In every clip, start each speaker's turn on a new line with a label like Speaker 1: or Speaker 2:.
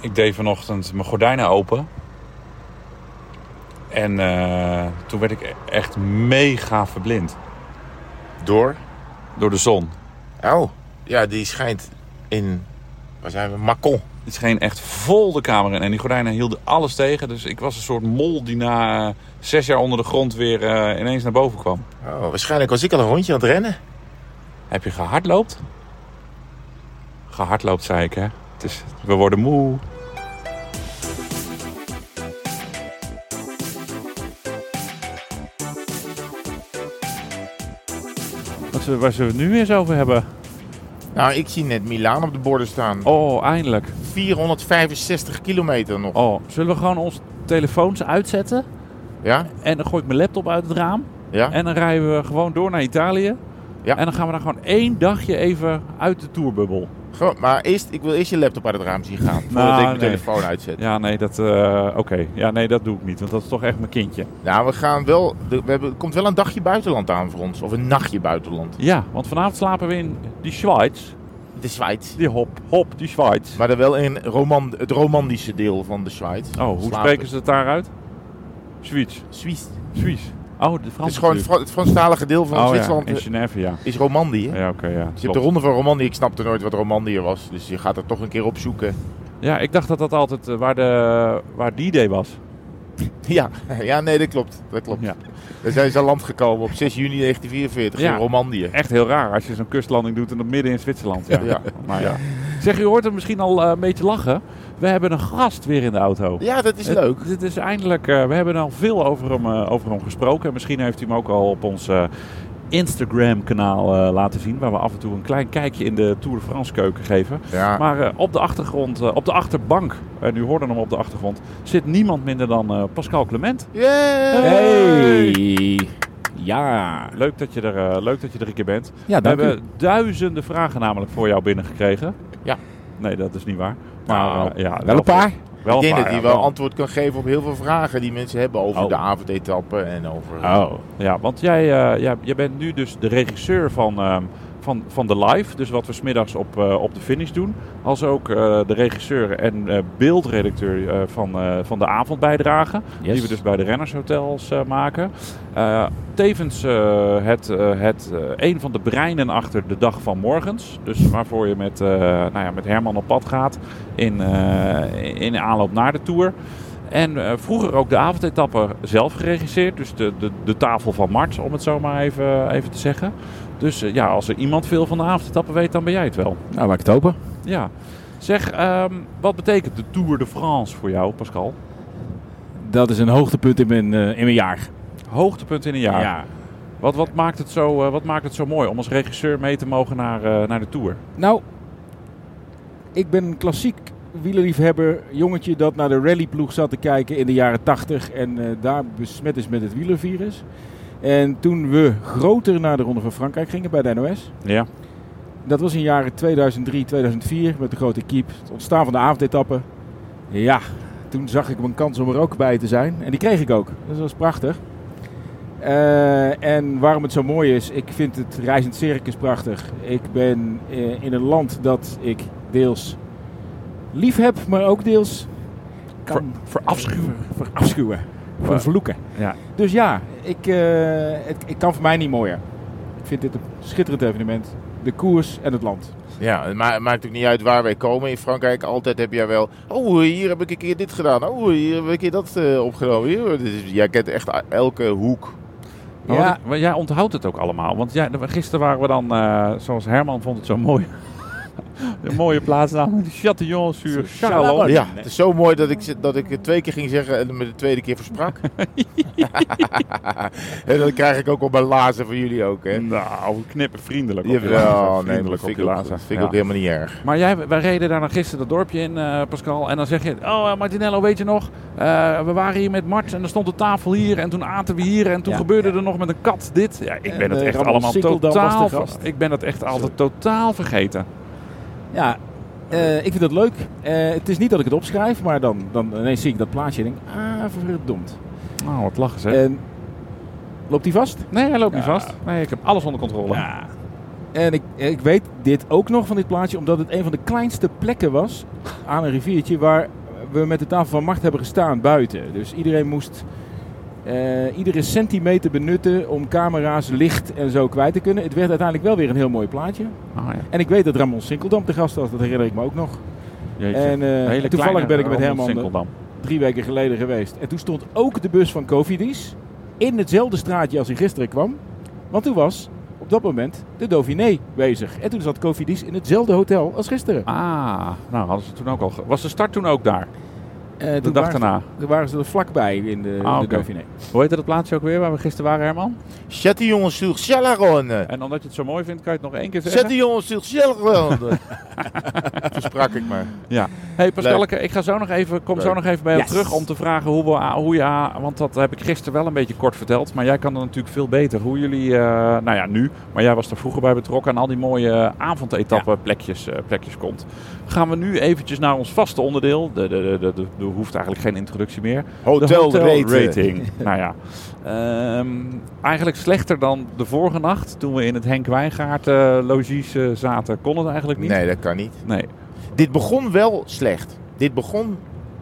Speaker 1: ik deed vanochtend mijn gordijnen open. En eh, toen werd ik e- echt mega verblind
Speaker 2: Door?
Speaker 1: door de zon.
Speaker 2: Oh, ja, die schijnt in. Waar zijn we? Macon.
Speaker 1: Het scheen echt vol de kamer in. En die gordijnen hielden alles tegen. Dus ik was een soort mol die na eh, zes jaar onder de grond weer eh, ineens naar boven kwam.
Speaker 2: Oh, waarschijnlijk was ik al een rondje aan het rennen.
Speaker 1: Heb je gehardloopt? Gehardloopt, zei ik, hè? Het is, we worden moe. Wat zullen, waar zullen we het nu eens over hebben?
Speaker 2: Nou, ik zie net Milaan op de borden staan.
Speaker 1: Oh, eindelijk.
Speaker 2: 465 kilometer nog.
Speaker 1: Oh, zullen we gewoon onze telefoons uitzetten?
Speaker 2: Ja?
Speaker 1: En dan gooi ik mijn laptop uit het raam.
Speaker 2: Ja?
Speaker 1: En dan rijden we gewoon door naar Italië.
Speaker 2: Ja.
Speaker 1: En dan gaan we daar gewoon één dagje even uit de tourbubbel.
Speaker 2: Gewoon, maar eerst, ik wil eerst je laptop uit het raam zien gaan. Voordat ik mijn
Speaker 1: Nou, nee.
Speaker 2: telefoon uitzet.
Speaker 1: Ja, nee, dat, eh, oké. Ja, nee, dat doe ik niet, want dat is toch echt mijn kindje.
Speaker 2: Nou, we gaan wel. de- We hebben, er komt wel een dagje buitenland aan voor ons. Of een nachtje buitenland.
Speaker 1: Ja, want vanavond slapen we in die Schweiz.
Speaker 2: De Schweiz.
Speaker 1: Die hop, hop, die Schweiz.
Speaker 2: Maar dan wel in Roman, het romantische deel van de Schweiz.
Speaker 1: Oh, hoe
Speaker 2: Slapen.
Speaker 1: spreken ze het daaruit? Zwitsch.
Speaker 2: Suisse.
Speaker 1: Suisse. Oh, de
Speaker 2: Het
Speaker 1: Frans.
Speaker 2: is gewoon het Fra- het Franstalige deel van
Speaker 1: oh,
Speaker 2: Zwitserland
Speaker 1: ja, in
Speaker 2: eh,
Speaker 1: Genève, ja.
Speaker 2: is Romandie. hè?
Speaker 1: Ja, oké, ja.
Speaker 2: Dus je hebt de
Speaker 1: klopt.
Speaker 2: ronde van Romandie. Ik snapte nooit wat Romandie was. Dus je gaat er toch een keer opzoeken.
Speaker 1: Ja, ik dacht dat dat altijd eh, waar, de, waar die day was.
Speaker 2: Ja, ja nee, dat klopt. Dat klopt.
Speaker 1: Ja.
Speaker 2: Daar zijn ze aan land gekomen op 6 juni 1944
Speaker 1: Ja.
Speaker 2: in Romandie.
Speaker 1: Echt heel raar als je zo'n kustlanding doet en dat midden in Zwitserland. Ja.
Speaker 2: Ja.
Speaker 1: Maar ja. Zeg, u hoort hem misschien al eh, een beetje lachen. We hebben een gast weer in de auto.
Speaker 2: Ja, dat is leuk.
Speaker 1: Het- Dit is eindelijk, eh, we hebben al veel over hem, eh, over hem gesproken. Misschien heeft u hem ook al op ons eh, Instagram-kanaal eh, laten zien. Waar we af en toe een klein kijkje in de Tour de France-keuken geven.
Speaker 2: Ja.
Speaker 1: Maar eh, op de achtergrond, eh, op de achterbank, en u hoorde hem op de achtergrond, zit niemand minder dan eh, Pascal Clement.
Speaker 2: Yay!
Speaker 3: Hey! Ja.
Speaker 1: Leuk dat je er, eh, leuk dat je er een keer bent.
Speaker 3: Ja,
Speaker 1: we
Speaker 3: dank
Speaker 1: hebben
Speaker 3: u.
Speaker 1: duizenden vragen namelijk voor jou binnengekregen.
Speaker 2: Ja.
Speaker 1: Nee, dat is niet waar. Maar
Speaker 3: Nou,
Speaker 1: eh, ja,
Speaker 3: Wel een paar.
Speaker 1: Wel
Speaker 2: Ik
Speaker 1: een
Speaker 2: denk
Speaker 1: paar.
Speaker 2: dat hij
Speaker 1: ja,
Speaker 2: wel antwoord kan geven op heel veel vragen die mensen hebben over
Speaker 1: Oh.
Speaker 2: de avondetappe en over...
Speaker 3: Oh.
Speaker 1: Ja, want jij, eh, ja, jij bent nu dus de regisseur van, ehm, van, van de live. Dus wat we smiddags op, eh, op de finish doen. Als ook eh, de regisseur en eh, beeldredacteur eh, van, eh, van de avondbijdrage.
Speaker 3: Yes.
Speaker 1: Die we dus bij de rennershotels eh, maken. Eh, tevens eh, het, eh, het, eh, een van de breinen achter de dag van morgens. Dus waarvoor je met, eh, nou ja, met Herman op pad gaat in, eh, in aanloop naar de Tour. En eh, vroeger ook de avondetappe zelf geregisseerd. Dus de, de, de tafel van Mart, om het zo maar even, even te zeggen. Dus eh, ja, als er iemand veel van de avondetappe weet, dan ben jij het wel.
Speaker 3: Nou, maak het open.
Speaker 1: Ja. Zeg, ehm, wat betekent de Tour de France voor jou, Pascal?
Speaker 3: Dat is een hoogtepunt in mijn, eh, in mijn jaar.
Speaker 1: Hoogtepunt in een jaar. Wat, wat, maakt het zo, eh, wat maakt het zo mooi om als regisseur mee te mogen naar, eh, naar de Tour?
Speaker 3: Nou, ik ben een klassiek wielerliefhebber. Jongetje dat naar de rallyploeg zat te kijken in de jaren 80. En eh, daar besmet is met het wielervirus. En toen we groter naar de Ronde van Frankrijk gingen bij de NOS.
Speaker 1: Ja.
Speaker 3: Dat was in jaren 2003, 2004 met de grote keep. Het ontstaan van de avondetappe. Ja, toen zag ik mijn kans om er ook bij te zijn. En die kreeg ik ook. Dus dat was prachtig. Eh, en waarom het zo mooi is, ik vind het reizend circus prachtig. Ik ben eh, in een land dat ik deels lief heb, maar ook deels kan
Speaker 1: verafschuwen.
Speaker 3: ver- verafschuwen, vervloeken.
Speaker 1: Ja.
Speaker 3: Dus ja, ik, eh, het, het kan voor mij niet mooier. Ik vind dit een schitterend evenement. De koers en het land.
Speaker 2: Ja, het ma- maakt natuurlijk niet uit waar wij komen in Frankrijk. Altijd heb jij wel. Oh, hier heb ik een keer dit gedaan. Oh, hier heb ik een keer dat eh, opgenomen. Hier, dit is- jij kent echt elke hoek.
Speaker 1: Maar
Speaker 3: Ja.
Speaker 1: wat ik- maar jij onthoudt het ook allemaal. Want jij, gisteren waren we dan, eh, zoals Herman vond het zo mooi. een mooie plaatsnaam. Châtillon sur Charlot.
Speaker 2: Ja, het is zo mooi dat ik, ze- dat ik het twee keer ging zeggen en me de tweede keer versprak. en dan krijg ik ook op mijn lazen van jullie ook. Hè.
Speaker 1: Nou, knippen vriendelijk. op je lazen.
Speaker 2: Jawel, nee, maar dat
Speaker 1: Vriendelijk op
Speaker 2: vind
Speaker 1: je
Speaker 2: ik, ook,
Speaker 1: lazen.
Speaker 2: dat vind ik
Speaker 1: Ja.
Speaker 2: ook helemaal niet erg.
Speaker 1: Maar jij, wij reden daar dan gisteren dat dorpje in, eh, Pascal. En dan zeg je, oh eh, Martinello, weet je nog? eh, we waren hier met Mart en er stond de tafel hier. En toen aten we hier. En toen
Speaker 3: Ja.
Speaker 1: gebeurde er nog met een kat dit. Ja, ik
Speaker 3: En,
Speaker 1: ben het
Speaker 3: eh,
Speaker 1: echt
Speaker 3: Ramon
Speaker 1: allemaal
Speaker 3: Sikkeldam was de
Speaker 1: totaal...
Speaker 3: gast.
Speaker 1: Ik ben dat echt altijd totaal vergeten.
Speaker 3: Ja, eh, ik vind dat leuk. Eh, het is niet dat ik het opschrijf, maar dan, dan ineens zie ik dat plaatje en denk ah, verdomd.
Speaker 1: Nou, wat lachen ze.
Speaker 3: En loopt die vast?
Speaker 1: nee, hij loopt niet
Speaker 3: Eh, Ja.
Speaker 1: vast. Nee, ik heb alles onder controle.
Speaker 3: Ja. En ik, ik weet dit ook nog van dit plaatje, omdat het een van de kleinste plekken was aan een riviertje waar we met de tafel van macht hebben gestaan buiten. Dus iedereen moest eh, iedere centimeter benutten om camera's, licht en zo kwijt te kunnen. Het werd uiteindelijk wel weer een heel mooi plaatje.
Speaker 1: Ah, ja.
Speaker 3: En ik weet dat Ramon Sinkeldam te gast was, dat herinner ik me ook nog.
Speaker 1: Jeetje.
Speaker 3: En eh,
Speaker 1: Een hele
Speaker 3: toevallig
Speaker 1: kleine eh,
Speaker 3: ben ik met
Speaker 1: Ramon
Speaker 3: Herman eh, er
Speaker 1: Sinkeldam.
Speaker 3: drie weken geleden geweest. En toen stond ook de bus van Covidis in hetzelfde straatje als hij gisteren kwam. Want toen was op dat moment de Dauphiné bezig. En toen zat Covidis in hetzelfde hotel als gisteren.
Speaker 1: Ah, nou hadden ze toen ook al. ge- Was de start toen ook daar?
Speaker 3: Eh, toen
Speaker 1: dag
Speaker 3: waren ze-
Speaker 1: daarna.
Speaker 3: Toen waren ze er vlakbij in de,
Speaker 1: Ah,
Speaker 3: de
Speaker 1: oké.
Speaker 3: Dauphiné.
Speaker 1: Hoe heette dat plaatsje ook weer waar we gisteren waren, Herman?
Speaker 2: Châtillon sur Chalaronne.
Speaker 1: En omdat je het zo mooi vindt, kan je het nog één keer zeggen.
Speaker 2: Châtillon sur Chalaronne. Zo sprak ik maar.
Speaker 1: Ja. Hey Pascalke, ik ga zo nog even, kom zo
Speaker 2: Leuk.
Speaker 1: nog even bij jou
Speaker 3: Yes.
Speaker 1: terug om te vragen hoe, we, hoe je, want dat heb ik gisteren wel een beetje kort verteld, maar jij kan dat natuurlijk veel beter. Hoe jullie, eh, nou ja nu, maar jij was er vroeger bij betrokken aan al die mooie avondetappen plekjes, eh, plekjes komt. Gaan we nu eventjes naar ons vaste onderdeel, de, de, de, de, de, de hoeft eigenlijk geen introductie meer. De
Speaker 2: Hotel,
Speaker 1: hotelrating.
Speaker 2: rating.
Speaker 1: nou ja. Ehm, eigenlijk slechter dan de vorige nacht. Toen we in het Henk Wijngaard eh logies eh, zaten, kon het eigenlijk niet.
Speaker 2: Nee, dat kan niet.
Speaker 1: Nee.
Speaker 2: Dit begon wel slecht. Dit begon,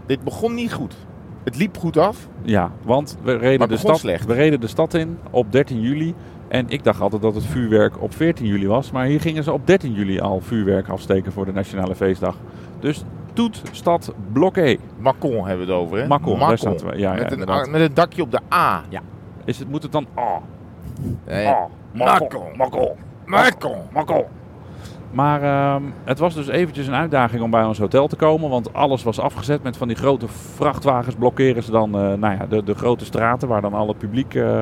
Speaker 2: dit begon niet goed. Het liep goed af.
Speaker 1: Ja, want we reden,
Speaker 2: Maar
Speaker 1: de
Speaker 2: begon
Speaker 1: stad,
Speaker 2: slecht.
Speaker 1: we reden de stad in op 13 juli. En ik dacht altijd dat het vuurwerk op 14 juli was. Maar hier gingen ze op 13 juli al vuurwerk afsteken voor de Nationale Feestdag. Dus toet, stad, blokkee.
Speaker 2: Macon hebben we het over, hè?
Speaker 1: Macon, daar zaten we. Ja, ja,
Speaker 2: met, een,
Speaker 1: inderdaad.
Speaker 2: a- met een dakje op de A.
Speaker 1: Is het, moet het dan... Ah,
Speaker 2: Nee.
Speaker 1: ah,
Speaker 2: Macon.
Speaker 1: makkel,
Speaker 2: Macon.
Speaker 1: makkel. Maar ehm, het was dus eventjes een uitdaging om bij ons hotel te komen. Want alles was afgezet met van die grote vrachtwagens. Blokkeren ze dan eh, nou ja, de, de grote straten waar dan al het publiek eh,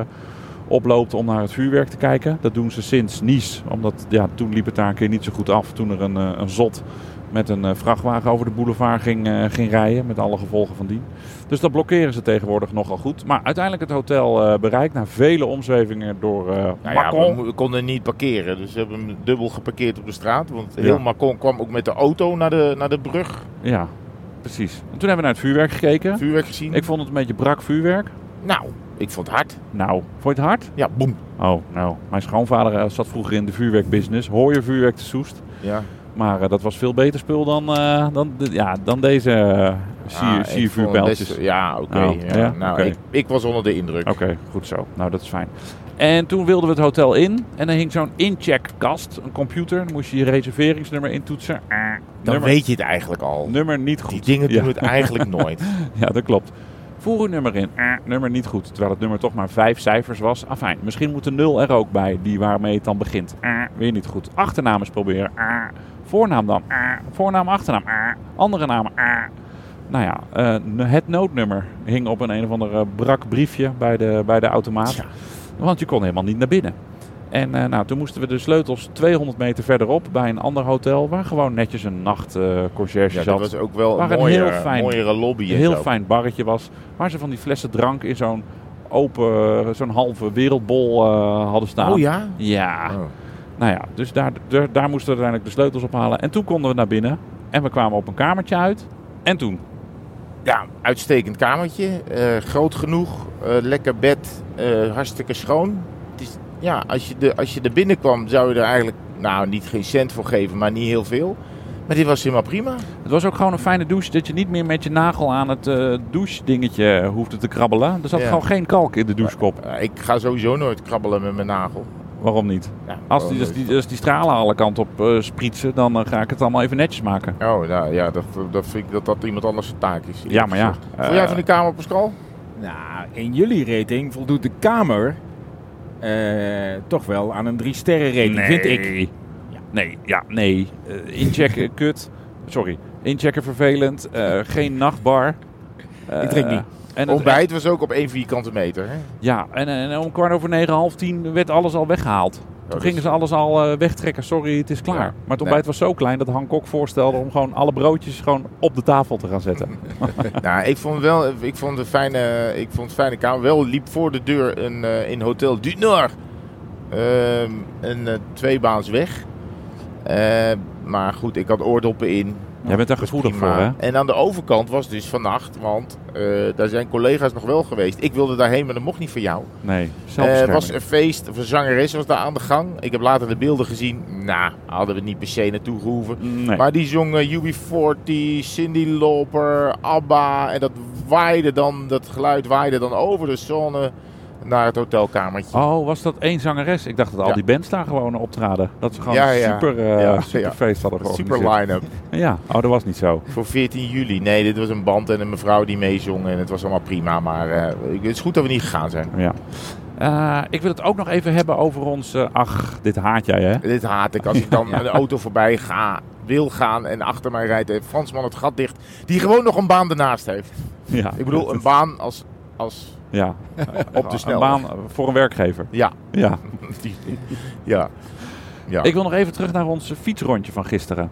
Speaker 1: oploopt om naar het vuurwerk te kijken. Dat doen ze sinds Nice. Omdat ja, toen liep het daar een keer niet zo goed af. Toen er een, eh, een zot met een eh, vrachtwagen over de boulevard ging, eh, ging rijden. Met alle gevolgen van dien. Dus dat blokkeren ze tegenwoordig nogal goed. Maar uiteindelijk het hotel eh, bereikt na vele omzwevingen door eh
Speaker 2: Nou ja,
Speaker 1: Macron.
Speaker 2: we, mo- we konden niet parkeren, dus we hebben hem dubbel geparkeerd op de straat. Want heel
Speaker 1: Ja.
Speaker 2: Macon kwam ook met de auto naar de, naar de brug.
Speaker 1: Ja, precies. En toen hebben we naar het vuurwerk gekeken.
Speaker 2: Vuurwerk gezien.
Speaker 1: Ik vond het een beetje brak vuurwerk.
Speaker 2: nou, ik vond het hard.
Speaker 1: Nou, vond je het hard?
Speaker 2: Ja, boem.
Speaker 1: Oh, nou. Mijn schoonvader eh, zat vroeger in de vuurwerkbusiness. Hoor je vuurwerk te soest.
Speaker 2: Ja.
Speaker 1: Maar eh, dat was veel beter spul dan, eh, dan, de- ja, dan deze eh,
Speaker 2: Ah,
Speaker 1: sier
Speaker 2: ik vond
Speaker 1: siervuurpijltjes.
Speaker 2: het best- Ja, oké.
Speaker 1: Oh,
Speaker 2: ja.
Speaker 1: ja?
Speaker 2: Nou,
Speaker 1: Oké.
Speaker 2: ik, ik was onder de indruk.
Speaker 1: Oké, goed zo. Nou, dat is fijn. En toen wilden we het hotel in. En dan hing zo'n incheckkast, een computer. Dan moest je je reserveringsnummer intoetsen. Eh,
Speaker 2: Dan
Speaker 1: nummer,
Speaker 2: weet je het eigenlijk al.
Speaker 1: nummer niet goed.
Speaker 2: Die dingen
Speaker 1: Ja.
Speaker 2: doen het eigenlijk nooit.
Speaker 1: Ja, dat klopt. Voer uw nummer in. Eh, nummer niet goed. Terwijl het nummer toch maar vijf cijfers was. Afijn, misschien moet de nul er ook bij, die waarmee het dan begint. Eh, weer niet goed. Achternaam eens proberen. Eh, voornaam dan. Eh, voornaam, achternaam. Eh, andere namen. Eh. Nou ja, eh, n- het noodnummer hing op een een of ander eh, brak briefje bij de, bij de automaat.
Speaker 2: Ja.
Speaker 1: Want je kon helemaal niet naar binnen. En eh, nou, toen moesten we de sleutels 200 meter verderop bij een ander hotel... waar gewoon netjes een nachtconcierge
Speaker 2: Ja,
Speaker 1: zat.
Speaker 2: dat was ook wel
Speaker 1: Maar
Speaker 2: een
Speaker 1: een
Speaker 2: mooiere,
Speaker 1: heel fijn-
Speaker 2: mooiere lobby.
Speaker 1: Een
Speaker 2: en
Speaker 1: heel
Speaker 2: zo.
Speaker 1: fijn barretje was. Waar ze van die flessen drank in zo'n open, eh, zo'n halve wereldbol eh, hadden staan.
Speaker 2: Oh ja?
Speaker 1: Ja.
Speaker 2: Oh.
Speaker 1: Nou ja, dus daar, daar, daar moesten we uiteindelijk de sleutels ophalen. En toen konden we naar binnen. En we kwamen op een kamertje uit. En toen?
Speaker 2: Ja, uitstekend kamertje. eh, groot genoeg. eh, lekker bed. eh, hartstikke schoon. Het is, ja, als je, de, als je er binnenkwam zou je er eigenlijk... Nou, niet geen cent voor geven, maar niet heel veel. Maar dit was helemaal prima.
Speaker 1: Het was ook gewoon een fijne douche. Dat je niet meer met je nagel aan het eh douche dingetje hoefde te krabbelen. Er zat
Speaker 2: Ja.
Speaker 1: gewoon geen kalk in de douchekop.
Speaker 2: Eh, ik ga sowieso nooit krabbelen met mijn nagel.
Speaker 1: Waarom niet?
Speaker 2: Ja,
Speaker 1: Als
Speaker 2: oh,
Speaker 1: die, als
Speaker 2: leuk.
Speaker 1: die, als die stralen alle kanten op eh, sprietsen, dan eh, ga ik het allemaal even netjes maken.
Speaker 2: Oh, nou ja, dat, dat vind ik dat dat iemand anders zijn taak is.
Speaker 1: Ja, maar ja. Eh,
Speaker 2: Vond jij van de Kamer, Pascal?
Speaker 3: Nou, in jullie rating voldoet de Kamer eh, toch wel aan een drie sterren rating, vind ik.
Speaker 1: Ja. Nee, ja, nee. Eh, inchecken, kut. Sorry. Inchecken, vervelend. Eh, geen nachtbar. Eh,
Speaker 3: Ik drink niet.
Speaker 1: En het- e-
Speaker 2: Ontbijt was ook op één vierkante meter. Hè?
Speaker 1: ja, en, en om kwart over negen, half tien werd alles al weggehaald. Toen
Speaker 2: dat
Speaker 1: gingen
Speaker 2: is-
Speaker 1: ze alles al eh, wegtrekken. Sorry, het is klaar.
Speaker 2: dus- Ja.
Speaker 1: Maar het ontbijt was zo klein dat Han Kok voorstelde om gewoon alle broodjes gewoon op de tafel te gaan zetten.
Speaker 2: Nou, ik vond wel, ik vond de fijne, ik vond het fijne kamer. Wel liep voor de deur een, eh, in Hotel du Nord ehm, een eh, tweebaans weg. Eh, maar goed, ik had oordoppen in.
Speaker 1: Jij bent daar gevoelig voor, hè?
Speaker 2: En aan de overkant was dus vannacht, want eh, daar zijn collega's nog wel geweest. Ik wilde daarheen, maar dat mocht niet van jou.
Speaker 1: Nee,
Speaker 2: Er
Speaker 1: zelfbescherming.
Speaker 2: Eh, was een feest, of een zangeres was daar aan de gang. Ik heb later de beelden gezien. Nou, hadden we niet per se naartoe gehoeven.
Speaker 1: Nee.
Speaker 2: Maar die zongen UB40, Cindy Lauper, ABBA. En dat waaide dan, dat geluid waaide dan over de zone naar het hotelkamertje.
Speaker 1: Oh, was dat één zangeres? Ik dacht dat al
Speaker 2: Ja.
Speaker 1: die bands daar gewoon optraden. Dat ze gewoon
Speaker 2: Ja,
Speaker 1: een
Speaker 2: ja.
Speaker 1: super, eh,
Speaker 2: Ja,
Speaker 1: super
Speaker 2: ja.
Speaker 1: feest hadden georganiseerd.
Speaker 2: Super line-up
Speaker 1: Ja, oh, dat was niet zo.
Speaker 2: voor 14 juli. Nee, dit was een band en een mevrouw die meezong en het was allemaal prima. Maar eh, ik- het is goed dat we niet gegaan zijn.
Speaker 1: Ja. Eh, ik wil het ook nog even hebben over ons... eh, ach, dit haat jij, hè?
Speaker 2: Dit haat ik. Als ik dan aan de auto voorbij ga, wil gaan en achter mij rijdt een Fransman het gat dicht. Die gewoon nog een baan ernaast heeft.
Speaker 1: Ja.
Speaker 2: Ik bedoel, een baan als... als
Speaker 1: Ja.
Speaker 2: op de
Speaker 1: Een
Speaker 2: snelweg.
Speaker 1: baan voor een werkgever.
Speaker 2: Ja.
Speaker 1: Ja.
Speaker 2: Die- ja. Ja,
Speaker 1: Ik wil nog even terug naar ons fietsrondje van gisteren.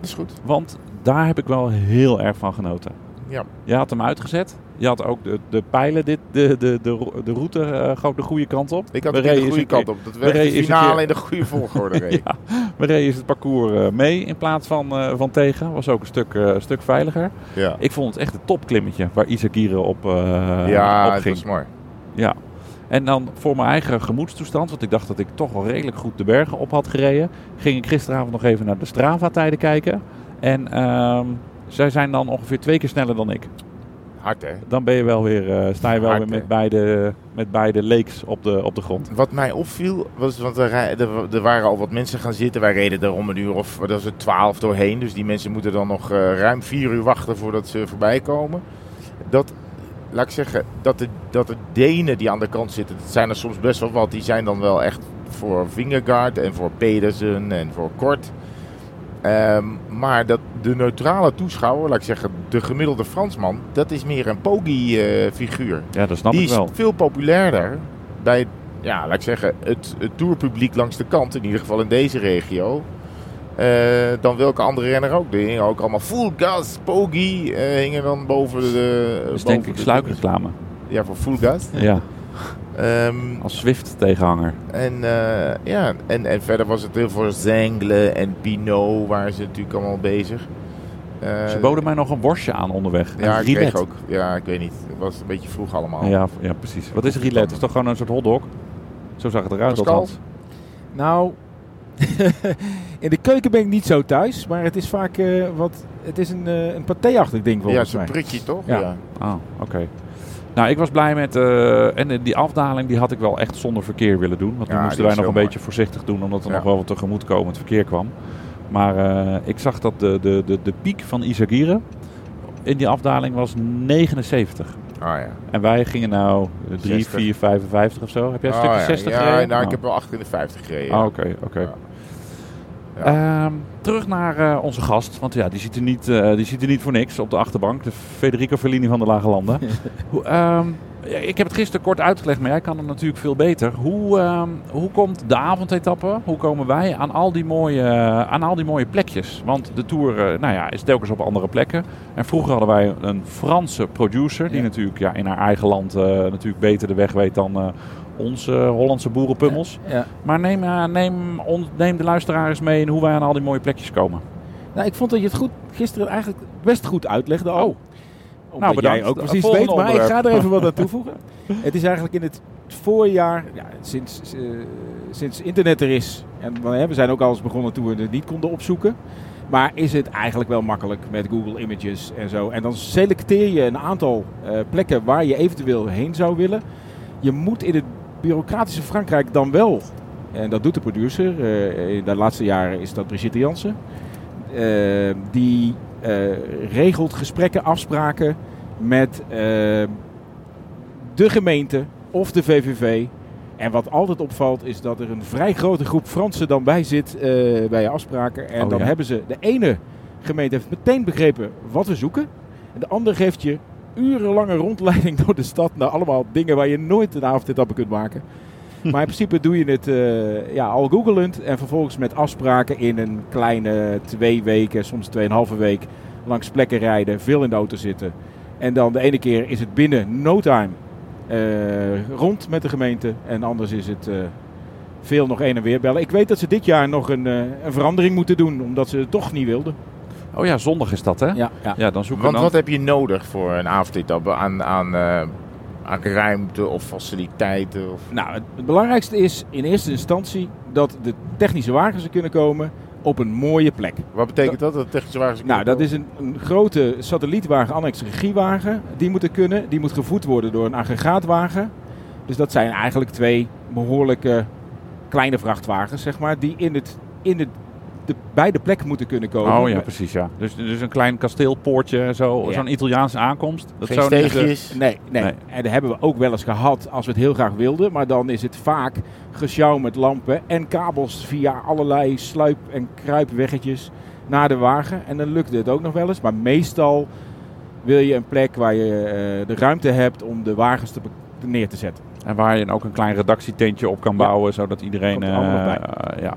Speaker 2: dat is goed.
Speaker 1: Want daar heb ik wel heel erg van genoten.
Speaker 2: Ja.
Speaker 1: Je had hem uitgezet. Je had ook de, de pijlen, dit, de, de, de, ro- de route eh, gewoon de goede kant op.
Speaker 2: Ik had
Speaker 1: We
Speaker 2: het in de
Speaker 1: reden
Speaker 2: goede
Speaker 1: eens een
Speaker 2: kant op. Dat werd de
Speaker 1: reden eens een
Speaker 2: finale
Speaker 1: keer-
Speaker 2: in de goede volgorde reed.
Speaker 1: Ja, we reden eens het parcours eh, mee in plaats van, eh, van tegen. Was ook een stuk, eh, een stuk veiliger.
Speaker 2: Ja,
Speaker 1: Ik vond het echt een topklimmetje waar Isagire op, eh
Speaker 2: ja
Speaker 1: op
Speaker 2: het
Speaker 1: ging.
Speaker 2: was mooi.
Speaker 1: Ja. En dan voor mijn eigen gemoedstoestand, want ik dacht dat ik toch wel redelijk goed de bergen op had gereden, ging ik gisteravond nog even naar de Strava-tijden kijken. En ehm, zij zijn dan ongeveer twee keer sneller dan ik.
Speaker 2: Hard hè?
Speaker 1: Dan ben je wel weer, eh, sta je wel
Speaker 2: Hard,
Speaker 1: weer
Speaker 2: hè?
Speaker 1: met beide, met beide leeks op de, op de grond.
Speaker 2: Wat mij opviel, was, want er, rij- er, er waren al wat mensen gaan zitten. Wij reden er om een uur of dat was het twaalf doorheen. Dus die mensen moeten dan nog eh, ruim vier uur wachten voordat ze voorbij komen. Dat, laat ik zeggen, dat de, dat de Denen die aan de kant zitten, dat zijn er soms best wel wat. Die zijn dan wel echt voor Vingegaard en voor Pedersen en voor Kort. Ehm, maar dat de neutrale toeschouwer, laat ik zeggen, de gemiddelde Fransman, dat is meer een eh, pogi-figuur.
Speaker 1: Ja, dat snap
Speaker 2: Die
Speaker 1: ik
Speaker 2: is
Speaker 1: wel.
Speaker 2: veel populairder bij, ja, laat ik zeggen, het, het tourpubliek langs de kant, in ieder geval in deze regio, eh, dan welke andere renner ook. Er hingen ook allemaal full gas, pogi, eh, hingen dan boven de... eh,
Speaker 1: Dat is
Speaker 2: boven
Speaker 1: Dus denk ik
Speaker 2: de-
Speaker 1: sluikreclame.
Speaker 2: Ja, voor full gas.
Speaker 1: Ja,
Speaker 2: Ehm,
Speaker 1: als Zwift-tegenhanger.
Speaker 2: en, eh, ja, en, en verder was het heel veel Zengle en Pinot waren ze natuurlijk allemaal bezig. Eh,
Speaker 1: Ze boden mij nog een worstje aan onderweg. Een
Speaker 2: Ja, ik
Speaker 1: rilet.
Speaker 2: kreeg ook. Ja, ik weet niet. Het was een beetje vroeg allemaal.
Speaker 1: Ja, v- ja, precies. Wat is een rilet? Het is toch gewoon een soort hotdog? Zo zag het eruit
Speaker 2: Pascal?
Speaker 1: althans.
Speaker 3: Nou, in de keuken ben ik niet zo thuis, maar het is vaak eh, wat. Het is een, eh een paté-achtig ding
Speaker 2: Ja,
Speaker 3: volgens
Speaker 2: zo'n
Speaker 3: mij.
Speaker 2: prikje toch?
Speaker 3: Ja.
Speaker 1: Ah, oké. Nou, ik was blij met... eh, en eh, die afdaling die had ik wel echt zonder verkeer willen doen. Want nu
Speaker 2: Ja,
Speaker 1: moesten
Speaker 2: die
Speaker 1: wij
Speaker 2: is
Speaker 1: nog een
Speaker 2: heel
Speaker 1: beetje voorzichtig doen... omdat er
Speaker 2: Ja.
Speaker 1: nog wel wat tegemoetkomend verkeer kwam. Maar eh, ik zag dat de, de, de, de piek van Isagire in die afdaling was 79.
Speaker 2: Ah ja.
Speaker 1: En wij gingen nou 3,
Speaker 2: 60.
Speaker 1: 4, 55 of zo. Heb jij een
Speaker 2: Oh,
Speaker 1: stukje
Speaker 2: ja.
Speaker 1: 60
Speaker 2: ja,
Speaker 1: gereden?
Speaker 2: nou, ik
Speaker 1: Oh.
Speaker 2: heb wel 58 gereden.
Speaker 1: Ah,
Speaker 2: ja.
Speaker 1: oké, oké.
Speaker 2: Ja. Ja.
Speaker 1: Ehm, terug naar eh, onze gast, want ja, die zit, er niet, eh, die zit er niet voor niks op de achterbank. De Federico Fellini van de Lage Landen. Hoe, ehm, ja, ik heb het gisteren kort uitgelegd, maar jij kan het natuurlijk veel beter. Hoe, ehm, hoe komt de avondetappe, hoe komen wij aan al die mooie, eh, aan al die mooie plekjes? Want de Tour eh, nou ja, is telkens op andere plekken. En vroeger hadden wij een Franse producer, die
Speaker 3: Ja.
Speaker 1: natuurlijk ja, in haar eigen land eh, natuurlijk beter de weg weet dan eh, onze Hollandse boerenpummels.
Speaker 3: Ja.
Speaker 1: Maar neem, eh, neem, ons, neem de luisteraar eens mee in hoe wij aan al die mooie plekjes komen.
Speaker 3: Nou, ik vond dat je het goed, gisteren eigenlijk best goed uitlegde al.
Speaker 1: Oh.
Speaker 3: Omdat
Speaker 1: Nou, bedankt.
Speaker 3: jij ook
Speaker 1: Eh,
Speaker 3: precies weet,
Speaker 1: volgende
Speaker 3: maar ik
Speaker 1: onderwerp.
Speaker 3: ga er even wat aan toevoegen. het is eigenlijk in het voorjaar, ja, sinds, eh, sinds internet er is, en eh, we zijn ook al eens begonnen toen we het niet konden opzoeken. Maar is het eigenlijk wel makkelijk met Google Images en zo. En dan selecteer je een aantal eh, plekken waar je eventueel heen zou willen. Je moet in het bureaucratische Frankrijk dan wel, en dat doet de producer, eh, in de laatste jaren is dat Brigitte Jansen, eh, die eh, regelt gesprekken, afspraken met eh, de gemeente of de VVV. En wat altijd opvalt is dat er een vrij grote groep Fransen dan bij zit eh, bij je afspraken. En
Speaker 1: Oh,
Speaker 3: dan
Speaker 1: ja.
Speaker 3: hebben ze, de ene gemeente heeft meteen begrepen wat we zoeken. En de ander geeft je urenlange rondleiding door de stad. Nou, allemaal dingen waar je nooit een avondetappe kunt maken. Maar in principe doe je het eh, ja, al googelend en vervolgens met afspraken in een kleine twee weken, soms tweeënhalve week, langs plekken rijden, veel in de auto zitten. En dan de ene keer is het binnen no time eh, rond met de gemeente en anders is het eh, veel nog een en weer bellen. Ik weet dat ze dit jaar nog een, eh, een verandering moeten doen, omdat ze het toch niet wilden.
Speaker 2: Oké,
Speaker 1: Oh ja, zondag is dat, hè?
Speaker 3: Ja, ja.
Speaker 1: Ja, dan zoeken we
Speaker 2: Want
Speaker 1: dan...
Speaker 2: wat heb je nodig voor een avondetappe aan, aan, eh, aan ruimte of faciliteiten? Of...
Speaker 3: Nou, het, het belangrijkste is in eerste instantie dat de technische wagens er kunnen komen op een mooie plek.
Speaker 2: Wat betekent dat? Dat technische wagens
Speaker 3: Nou, dat is een, een grote satellietwagen, annex regiewagen. Die moet er kunnen. Die moet gevoed worden door een aggregaatwagen. Dus dat zijn eigenlijk twee behoorlijke kleine vrachtwagens, zeg maar, die in het, in het, de, bij de plek moeten kunnen komen.
Speaker 1: Oh ja, precies, ja. Dus, dus een klein kasteelpoortje, zo,
Speaker 3: Ja.
Speaker 1: zo'n Italiaanse aankomst. Dat
Speaker 2: geen
Speaker 1: zou niet, eh,
Speaker 2: steegjes.
Speaker 3: Nee, nee,
Speaker 1: Nee.
Speaker 3: En dat hebben we ook wel eens gehad als we het heel graag wilden. Maar dan is het vaak gesjouw met lampen en kabels via allerlei sluip- en kruipweggetjes naar de wagen. En dan lukte het ook nog wel eens. Maar meestal wil je een plek waar je eh, de ruimte hebt om de wagens te be- neer te zetten.
Speaker 1: En waar je dan ook een klein redactietentje op kan
Speaker 3: Ja.
Speaker 1: bouwen, zodat iedereen...
Speaker 3: Komt er allemaal
Speaker 1: eh, eh, ja.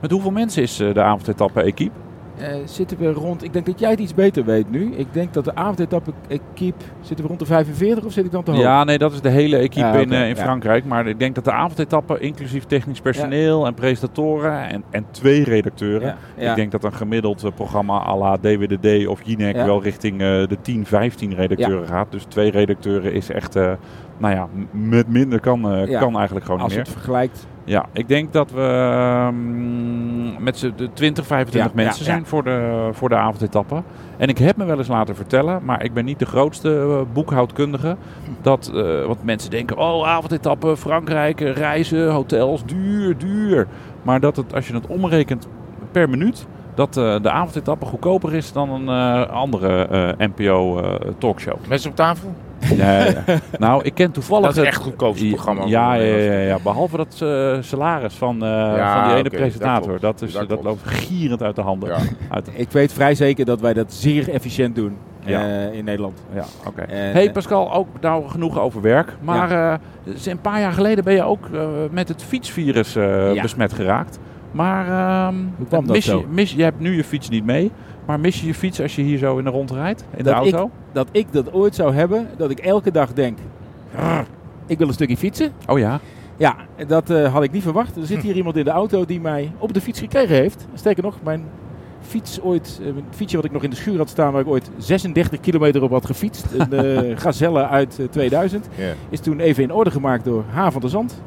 Speaker 1: Met hoeveel mensen is eh, de avondetappe-equipe?
Speaker 3: Eh, zitten we rond, ik denk dat jij het iets beter weet nu. Ik denk dat de avondetappe equipe, zitten we rond de 45 of zit ik dan te hoog?
Speaker 1: Ja, nee, dat is de hele equipe
Speaker 3: Ja, oké,
Speaker 1: in, eh, in
Speaker 3: ja.
Speaker 1: Frankrijk. Maar ik denk dat de avondetappe, inclusief technisch personeel en presentatoren en, en twee redacteuren...
Speaker 3: Ja, ja.
Speaker 1: Ik denk dat een gemiddeld eh, programma à la DWDD of Jinek
Speaker 3: Ja.
Speaker 1: wel richting eh, de 10, 15 redacteuren gaat. Dus twee redacteuren is echt, eh, nou ja, m- met minder kan, eh,
Speaker 3: Ja.
Speaker 1: kan eigenlijk gewoon
Speaker 3: Als
Speaker 1: niet
Speaker 3: het
Speaker 1: meer.
Speaker 3: vergelijkt
Speaker 1: Ja, ik denk dat we ehm, met z'n de 20, 25
Speaker 3: Ja, ja,
Speaker 1: mensen
Speaker 3: ja.
Speaker 1: zijn Voor, de, voor de avondetappe. En ik heb me wel eens laten vertellen, maar ik ben niet de grootste eh, boekhoudkundige. Dat, eh want mensen denken, oh avondetappe, Frankrijk, eh, reizen, hotels, duur, duur. Maar dat het, als je het omrekent per minuut, dat eh, de avondetappe goedkoper is dan een eh, andere NPO-talkshow.
Speaker 2: Mensen op tafel?
Speaker 1: Nee, eh, nou, ik ken toevallig...
Speaker 2: Dat is
Speaker 1: het-
Speaker 2: echt goedkoopste programma.
Speaker 1: Ja, ja, ja, ja, ja. behalve dat eh, salaris van, eh,
Speaker 2: Ja,
Speaker 1: van die ene
Speaker 2: oké, dat
Speaker 1: presentator.
Speaker 2: klopt.
Speaker 1: Dat, is,
Speaker 2: Dat
Speaker 1: dat,
Speaker 2: klopt.
Speaker 1: loopt gierend uit de handen.
Speaker 2: Ja.
Speaker 1: Uit,
Speaker 3: Ik weet vrij zeker dat wij dat zeer efficiënt doen
Speaker 1: Ja.
Speaker 3: eh, in Nederland.
Speaker 1: ja, oké.
Speaker 3: En-
Speaker 1: hey Pascal, ook nou genoeg over werk. Maar eh, dus een paar jaar geleden ben je ook eh, met het fietsvirus eh,
Speaker 3: Ja.
Speaker 1: besmet geraakt. Maar ehm,
Speaker 3: Hoe kwam dat
Speaker 1: mis
Speaker 3: zo?
Speaker 1: Je, mis, je hebt nu je fiets niet mee. Maar mis je je fiets als je hier zo in de rond rijdt? In de
Speaker 3: Dat
Speaker 1: auto?
Speaker 3: Dat ik dat ooit zou hebben, dat ik elke dag denk, "Grrr, ik wil een stukje fietsen.
Speaker 1: Oh ja.
Speaker 3: Ja, dat eh, had ik niet verwacht. Er zit hier iemand in de auto die mij op de fiets gekregen heeft. Sterker nog, mijn fiets ooit, eh, mijn fietsje wat ik nog in de schuur had staan, waar ik ooit 36 kilometer op had gefietst. Een eh, gazelle uit eh, 2000.
Speaker 2: Ja.
Speaker 3: Is toen even in orde gemaakt door H. van der Zand,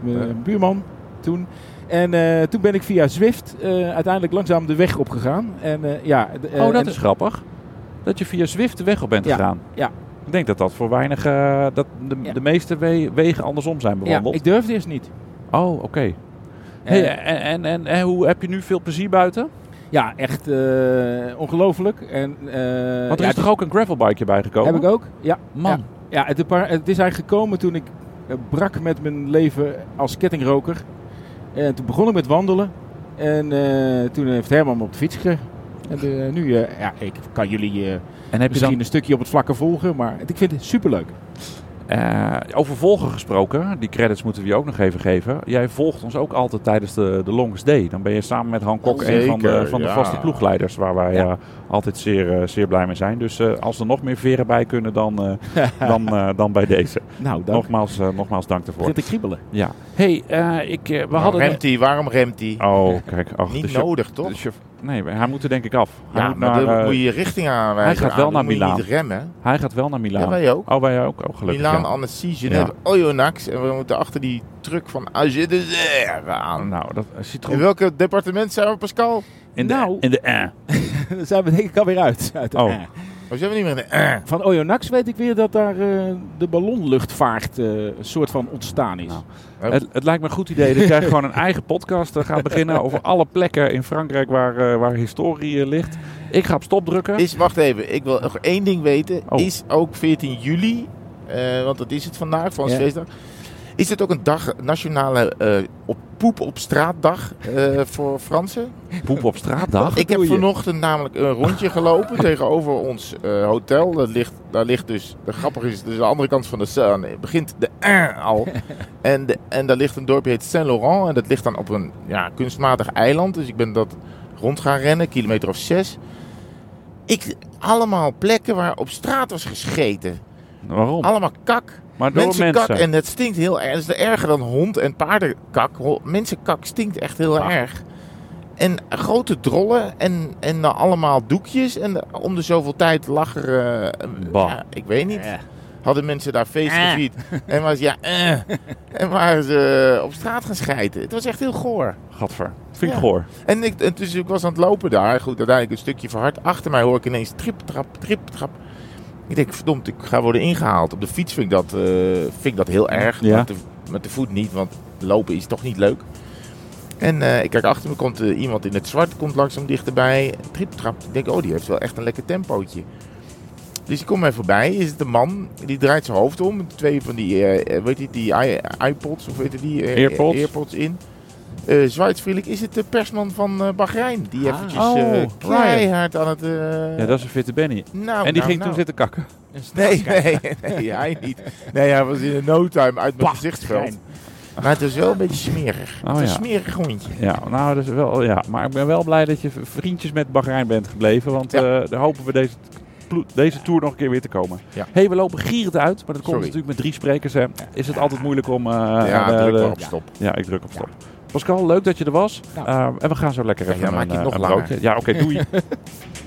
Speaker 3: mijn
Speaker 2: Ja.
Speaker 3: buurman toen. En eh, toen ben ik via Zwift eh, uiteindelijk langzaam de weg opgegaan. En, eh, ja, d- eh,
Speaker 1: oh, dat
Speaker 3: en-
Speaker 1: is grappig. Dat je via Zwift de weg op bent
Speaker 3: Ja,
Speaker 1: gegaan.
Speaker 3: ja.
Speaker 1: Ik denk dat dat voor weinig... eh, dat de,
Speaker 3: Ja.
Speaker 1: de meeste we- wegen andersom zijn
Speaker 3: ja,
Speaker 1: bewandeld.
Speaker 3: ik durfde eerst niet.
Speaker 1: Oh, oké.
Speaker 3: Eh,
Speaker 1: Hey, en, en, en, en hoe heb je nu veel plezier buiten?
Speaker 3: ja, echt eh, ongelooflijk. En, eh,
Speaker 1: Want er
Speaker 3: ja,
Speaker 1: is toch ook een gravelbikeje bijgekomen?
Speaker 3: Heb ik ook? Ja.
Speaker 1: Man,
Speaker 3: Ja, het, depar- het is eigenlijk gekomen toen ik eh, brak met mijn leven als kettingroker. En toen begon ik met wandelen. En eh, toen heeft Herman me op de fiets gekregen. En eh, nu, eh, ja, ik kan jullie eh,
Speaker 1: en heb je
Speaker 3: misschien
Speaker 1: dan
Speaker 3: een stukje op het vlakke volgen. Maar het- ik vind het superleuk.
Speaker 1: eh, over volgen gesproken? Die credits moeten we je ook nog even geven. Jij volgt ons ook altijd tijdens de, de Longest Day. Dan ben je samen met Han Kok
Speaker 2: Oh,
Speaker 1: een van de,
Speaker 2: zeker,
Speaker 1: van de
Speaker 2: ja.
Speaker 1: vaste ploegleiders. Waar wij
Speaker 3: Ja.
Speaker 1: eh, altijd zeer, eh, zeer blij mee zijn. Dus eh, als er nog meer veren bij kunnen, dan, eh, dan, eh, dan bij deze.
Speaker 3: Nou, dan
Speaker 1: Nogmaals, eh, nogmaals dank ervoor.
Speaker 3: begint te kriebelen.
Speaker 1: Ja. hey, eh, ik, eh, we
Speaker 2: Waarom
Speaker 1: hadden...
Speaker 2: remt hij? Waarom remt hij?
Speaker 1: Oh, kijk. Ach, de
Speaker 2: Nou, Niet
Speaker 1: chau-
Speaker 2: nodig, toch?
Speaker 1: de chau- nee, hij moet er denk ik af. Hij
Speaker 2: ja,
Speaker 1: dus moet
Speaker 2: maar
Speaker 1: naar,
Speaker 2: dan
Speaker 1: eh,
Speaker 2: moet je je richting aanwijzen.
Speaker 1: hij gaat wel
Speaker 2: aan,
Speaker 1: naar
Speaker 2: dan moet je
Speaker 1: Milaan.
Speaker 2: niet remmen.
Speaker 1: Hij gaat wel naar Milaan.
Speaker 2: Ja, wij ook.
Speaker 1: Oh, wij ook. Oh, gelukkig.
Speaker 2: Milaan,
Speaker 1: ja.
Speaker 2: Annecy, Genève, Oyonnax. En we moeten achter die truck van Agé de Zerre aan.
Speaker 1: Nou, dat ziet er
Speaker 2: In
Speaker 1: goed
Speaker 2: welk departement zijn we, Pascal? Oh,
Speaker 1: in de,
Speaker 3: Nou.
Speaker 1: in de eh.
Speaker 3: dan zijn we denk ik alweer uit. uit
Speaker 1: Oh.
Speaker 3: eh.
Speaker 2: zijn we niet meer in de... eh.
Speaker 3: Van Oyonnax weet ik weer dat daar eh, de ballonluchtvaart eh, een soort van ontstaan is.
Speaker 1: Nou.
Speaker 2: Oh.
Speaker 1: Het, het lijkt me een goed idee dat jij gewoon een eigen podcast eh, gaat beginnen over alle plekken in Frankrijk waar, eh, waar historie eh, ligt. Ik ga op stop drukken.
Speaker 2: Eh. Is, wacht even, ik wil nog één ding weten.
Speaker 1: Oh.
Speaker 2: Is ook 14 juli, eh, want dat is het vandaag, Frans
Speaker 3: Ja.
Speaker 2: feestdag. Is dit ook een dag, nationale eh, op, poep op straatdag eh, voor Fransen?
Speaker 1: Poep op straatdag.
Speaker 2: ik heb
Speaker 3: doe je?
Speaker 2: vanochtend namelijk een rondje gelopen tegenover ons eh, hotel. Dat ligt, daar ligt dus, de grappig is, dus de andere kant van de Seine begint de Ain al. en, de, en daar ligt een dorpje, heet Saint-Laurent. En dat ligt dan op een ja, kunstmatig eiland. Dus ik ben dat rond gaan rennen, kilometer of zes. Ik, allemaal plekken waar op straat was gescheten.
Speaker 1: Waarom?
Speaker 2: Allemaal kak.
Speaker 1: Maar door mensen.
Speaker 2: Mensenkak. En het stinkt
Speaker 1: Ah.
Speaker 2: heel erg. Het is erger dan hond- en paardenkak. Ho- Mensenkak stinkt echt heel erg. en grote drollen en, en dan allemaal doekjes. En om de zoveel tijd lag er... eh,
Speaker 1: Bah. Ah.
Speaker 2: ja, ik weet niet.
Speaker 3: Eh.
Speaker 2: Hadden mensen daar feest
Speaker 3: Eh.
Speaker 2: gevierd. En was ja... eh. en waren ze op straat gaan schijten. Het was echt heel goor.
Speaker 1: Gadver. Vind ik
Speaker 2: Ja.
Speaker 1: goor.
Speaker 2: En ik, en dus ik was aan het lopen daar. Goed, uiteindelijk een stukje verhard. Achter mij hoor ik ineens trip, trap, trip, trap. Ik denk, verdomd, ik ga worden ingehaald. Op de fiets vind ik dat, eh, vind ik dat heel erg.
Speaker 3: Ja.
Speaker 2: Met, de, met de voet niet, want lopen is toch niet leuk. En eh, ik kijk achter me, komt eh, iemand in het zwart, komt langzaam dichterbij. Trip, trap. Ik denk, oh, die heeft wel echt een lekker tempootje. Dus ik kom mij voorbij. Is het een man, die draait zijn hoofd om. Twee van die, eh, weet je, die i- iPods, of weet je die? eh,
Speaker 1: Earpods.
Speaker 2: Earpods in. Eh Zwaardsvriendelijk is het de persman van eh, Bahrein. Die
Speaker 3: Ah.
Speaker 2: eventjes
Speaker 1: Oh,
Speaker 2: eh,
Speaker 1: Ryan.
Speaker 2: keihard aan het... eh,
Speaker 1: Ja, dat is een fitte Benny.
Speaker 2: nou,
Speaker 1: En die
Speaker 2: nou,
Speaker 1: ging
Speaker 2: nou.
Speaker 1: toen zitten kakken.
Speaker 2: Nee, nee, nee, hij niet. Nee, hij was in no time uit mijn gezichtsveld. Maar het is wel een beetje smerig.
Speaker 1: Oh,
Speaker 2: het is
Speaker 1: ja.
Speaker 2: een smerig hondje.
Speaker 1: Ja, nou, dat is wel, ja. Maar ik ben wel blij dat je v- vriendjes met Bahrein bent gebleven. Want
Speaker 2: Ja.
Speaker 1: eh, daar hopen we deze, plo- deze tour nog een keer weer te komen.
Speaker 2: Ja.
Speaker 1: hey, we lopen gierend uit. Maar dat komt
Speaker 2: Sorry.
Speaker 1: natuurlijk met drie sprekers. Hè. Is het altijd moeilijk om... eh,
Speaker 2: ja,
Speaker 1: eh,
Speaker 2: druk
Speaker 1: de-
Speaker 2: maar op stop.
Speaker 1: ja, ik druk op stop. Pascal, leuk dat je er was.
Speaker 3: Nou.
Speaker 1: Eh, en we gaan zo lekker
Speaker 2: Ja,
Speaker 1: even
Speaker 2: dan maak
Speaker 1: een,
Speaker 2: je het
Speaker 1: eh,
Speaker 2: nog
Speaker 1: een
Speaker 2: langer.
Speaker 1: broodje. Ja, oké, doei.